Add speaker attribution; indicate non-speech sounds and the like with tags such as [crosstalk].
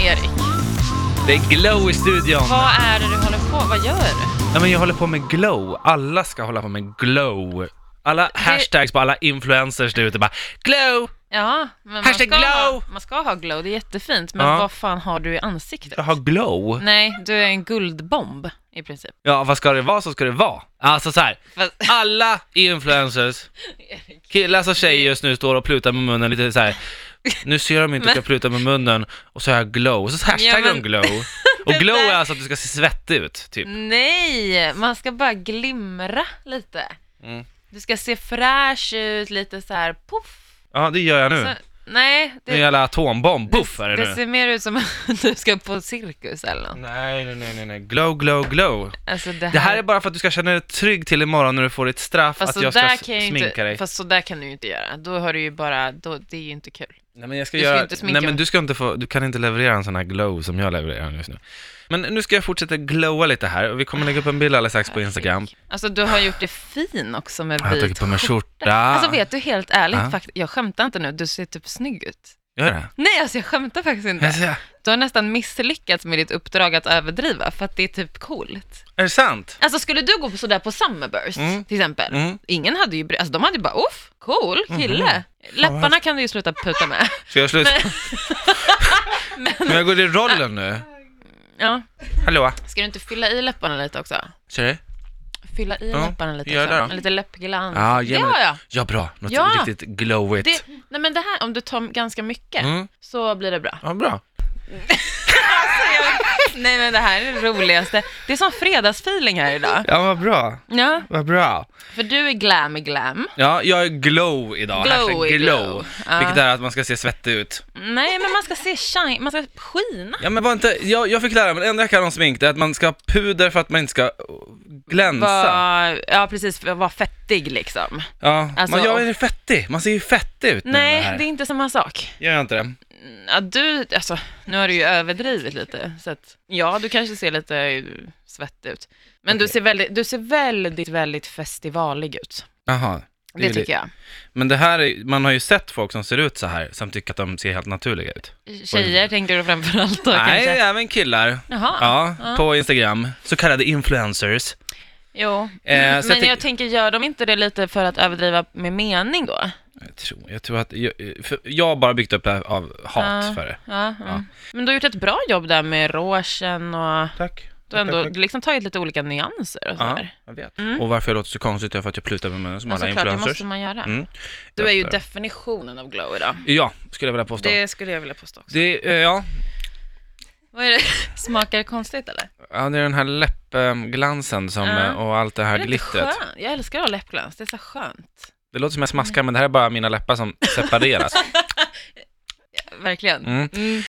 Speaker 1: Erik.
Speaker 2: Det är glow i studion.
Speaker 1: Vad är det du håller på Vad gör du?
Speaker 2: Ja, men jag håller på med glow. Alla ska hålla på med glow. Alla hashtags på alla influencers där ute bara glow.
Speaker 1: Ja, men man ska,
Speaker 2: Hashtag
Speaker 1: ha,
Speaker 2: glow!
Speaker 1: man ska ha glow, det är jättefint, men
Speaker 2: Ja.
Speaker 1: vad fan har du i ansiktet?
Speaker 2: Jag har glow.
Speaker 1: Nej, du är en guldbomb i princip.
Speaker 2: Ja, vad ska det vara så ska det vara. Alltså så här.
Speaker 1: Fast,
Speaker 2: alla
Speaker 1: [laughs]
Speaker 2: influencers,
Speaker 1: Erik,
Speaker 2: killar och tjejer just nu står och plutar med munnen lite så här. nu ser de inte att jag plutar med munnen och så har jag glow, och så hashtaggar
Speaker 1: Ja, men-
Speaker 2: de glow.
Speaker 1: [laughs]
Speaker 2: Och glow
Speaker 1: där- Mm.
Speaker 2: är alltså att du ska se svettig ut, typ.
Speaker 1: nej, man ska bara glimra lite.
Speaker 2: Mm.
Speaker 1: Du ska se fräsch ut, lite så här poff.
Speaker 2: Ja, det gör jag nu.
Speaker 1: Så, nej,
Speaker 2: Nu är jag
Speaker 1: Alltså, det,
Speaker 2: jävla atombomb, Mm. puff är
Speaker 1: det
Speaker 2: det nu.
Speaker 1: ser mer ut som [laughs] att du ska på cirkus eller något.
Speaker 2: Nej, nej, nej, nej, nej, glow, glow, glow.
Speaker 1: Alltså det här,
Speaker 2: Det här är bara för att du ska känna dig trygg till imorgon när du får ditt straff,
Speaker 1: fast
Speaker 2: att jag ska
Speaker 1: sådär
Speaker 2: s-
Speaker 1: kan jag ju
Speaker 2: sminka
Speaker 1: inte,
Speaker 2: dig.
Speaker 1: Fast sådär kan du ju inte göra. Då har du ju bara, då, det är ju inte kul.
Speaker 2: Nej men jag ska
Speaker 1: Du ska
Speaker 2: göra,
Speaker 1: inte sminka
Speaker 2: nej
Speaker 1: mig.
Speaker 2: men du ska inte få, du kan inte leverera en sån här glow som jag levererar just nu. Men nu ska jag fortsätta glowa lite här och vi kommer lägga upp en bild alldeles strax på Instagram.
Speaker 1: Alltså du har gjort det fin också med
Speaker 2: Jag har
Speaker 1: vit
Speaker 2: tagit på Ah. mig skjorta.
Speaker 1: Alltså vet du, helt ärligt,
Speaker 2: Ja.
Speaker 1: fakt- jag skämtar inte nu, du ser typ snygg ut.
Speaker 2: Gör det?
Speaker 1: Nej, alltså jag skämtar faktiskt inte.
Speaker 2: Jag ser-
Speaker 1: Du har nästan misslyckats med ditt uppdrag att överdriva, för att det är typ coolt.
Speaker 2: Är det sant?
Speaker 1: Alltså skulle du gå på sådär på Summerburst
Speaker 2: Mm.
Speaker 1: till exempel,
Speaker 2: Mm. Mhm.
Speaker 1: ingen hade ju bry- alltså de hade ju bara uff, cool kille. Läpparna kan du ju sluta puta
Speaker 2: [laughs]
Speaker 1: med.
Speaker 2: Ska jag sluta? [laughs] Men jag går i rollen nu.
Speaker 1: Ja.
Speaker 2: Hallå?
Speaker 1: Ska du inte fylla i läpparna lite också?
Speaker 2: Ser du?
Speaker 1: Fylla i
Speaker 2: Ja,
Speaker 1: läpparna lite
Speaker 2: gör
Speaker 1: också,
Speaker 2: det då.
Speaker 1: med lite läppglans.
Speaker 2: Ja,
Speaker 1: det
Speaker 2: ge mig-
Speaker 1: har jag.
Speaker 2: Ja bra, något
Speaker 1: Ja.
Speaker 2: riktigt glowigt.
Speaker 1: Det, nej men det här, om du tar ganska mycket
Speaker 2: Mm.
Speaker 1: så blir det bra.
Speaker 2: Ja bra.
Speaker 1: Nej men det här är det roligaste. Det är som fredagsfeeling här idag.
Speaker 2: Ja vad bra,
Speaker 1: Ja,
Speaker 2: vad bra.
Speaker 1: för du är glam glam.
Speaker 2: Ja, jag är glow idag.
Speaker 1: Glow
Speaker 2: Hashtag
Speaker 1: är
Speaker 2: glow.
Speaker 1: glow. Ja.
Speaker 2: Vilket är att man ska se svettig ut.
Speaker 1: Nej men man ska se shine, man ska skina.
Speaker 2: Ja men var inte, jag, jag fick lära mig, det enda jag kan om smink det är att man ska ha puder för att man inte ska uh, glänsa.
Speaker 1: Var, ja precis, vara fettig liksom.
Speaker 2: Ja,
Speaker 1: alltså-
Speaker 2: man, jag är fettig, man ser ju fettig ut nu med
Speaker 1: Nej,
Speaker 2: här.
Speaker 1: det är inte samma sak.
Speaker 2: Gör jag inte det?
Speaker 1: Ja, du, alltså, nu har du ju överdrivit lite, så att, ja du kanske ser lite eh, svettig ut. Men du, ser väldigt, du ser väldigt, väldigt festivalig ut.
Speaker 2: Jaha.
Speaker 1: Det tycker jag.
Speaker 2: Men det här, är, man har ju sett folk som ser ut så här som tycker att de ser helt naturliga ut.
Speaker 1: Tjejer tänkte du framförallt då
Speaker 2: Nej,
Speaker 1: kanske?
Speaker 2: även killar.
Speaker 1: Jaha.
Speaker 2: Ja, på Instagram. Så kallade influencers.
Speaker 1: Jo,
Speaker 2: Eh, så jag
Speaker 1: men jag,
Speaker 2: tyck-
Speaker 1: tänker, gör de inte det lite för att överdriva med mening då?
Speaker 2: Jag tror, jag tror att, jag, för jag har bara byggt upp det här av hat
Speaker 1: Ja.
Speaker 2: för det.
Speaker 1: Ja, mm. Men du har gjort ett bra jobb där med rogen och
Speaker 2: Tack.
Speaker 1: du har ändå liksom tagit lite olika nyanser och
Speaker 2: Ja,
Speaker 1: sådär.
Speaker 2: jag vet. Och varför jag låter så konstigt är för att jag plutar med munnen som
Speaker 1: Ja,
Speaker 2: alla
Speaker 1: såklart, det
Speaker 2: influencers.
Speaker 1: måste man göra.
Speaker 2: Mm.
Speaker 1: Du är ju
Speaker 2: Detta.
Speaker 1: definitionen av glow idag.
Speaker 2: Ja, skulle jag vilja påstå. Det,
Speaker 1: Det skulle jag vilja påstå också.
Speaker 2: eh, ja.
Speaker 1: Vad är det? [laughs] Smakar det konstigt eller?
Speaker 2: ja, det är den här läppglansen som,
Speaker 1: Ja.
Speaker 2: eh, och allt det här
Speaker 1: är det inte
Speaker 2: glittret.
Speaker 1: skönt? Jag älskar att ha läppglans, det är så skönt.
Speaker 2: Det låter som jag smaskar, men det här är bara mina läppar som separeras.
Speaker 1: Verkligen.
Speaker 2: Mm.
Speaker 1: Mm.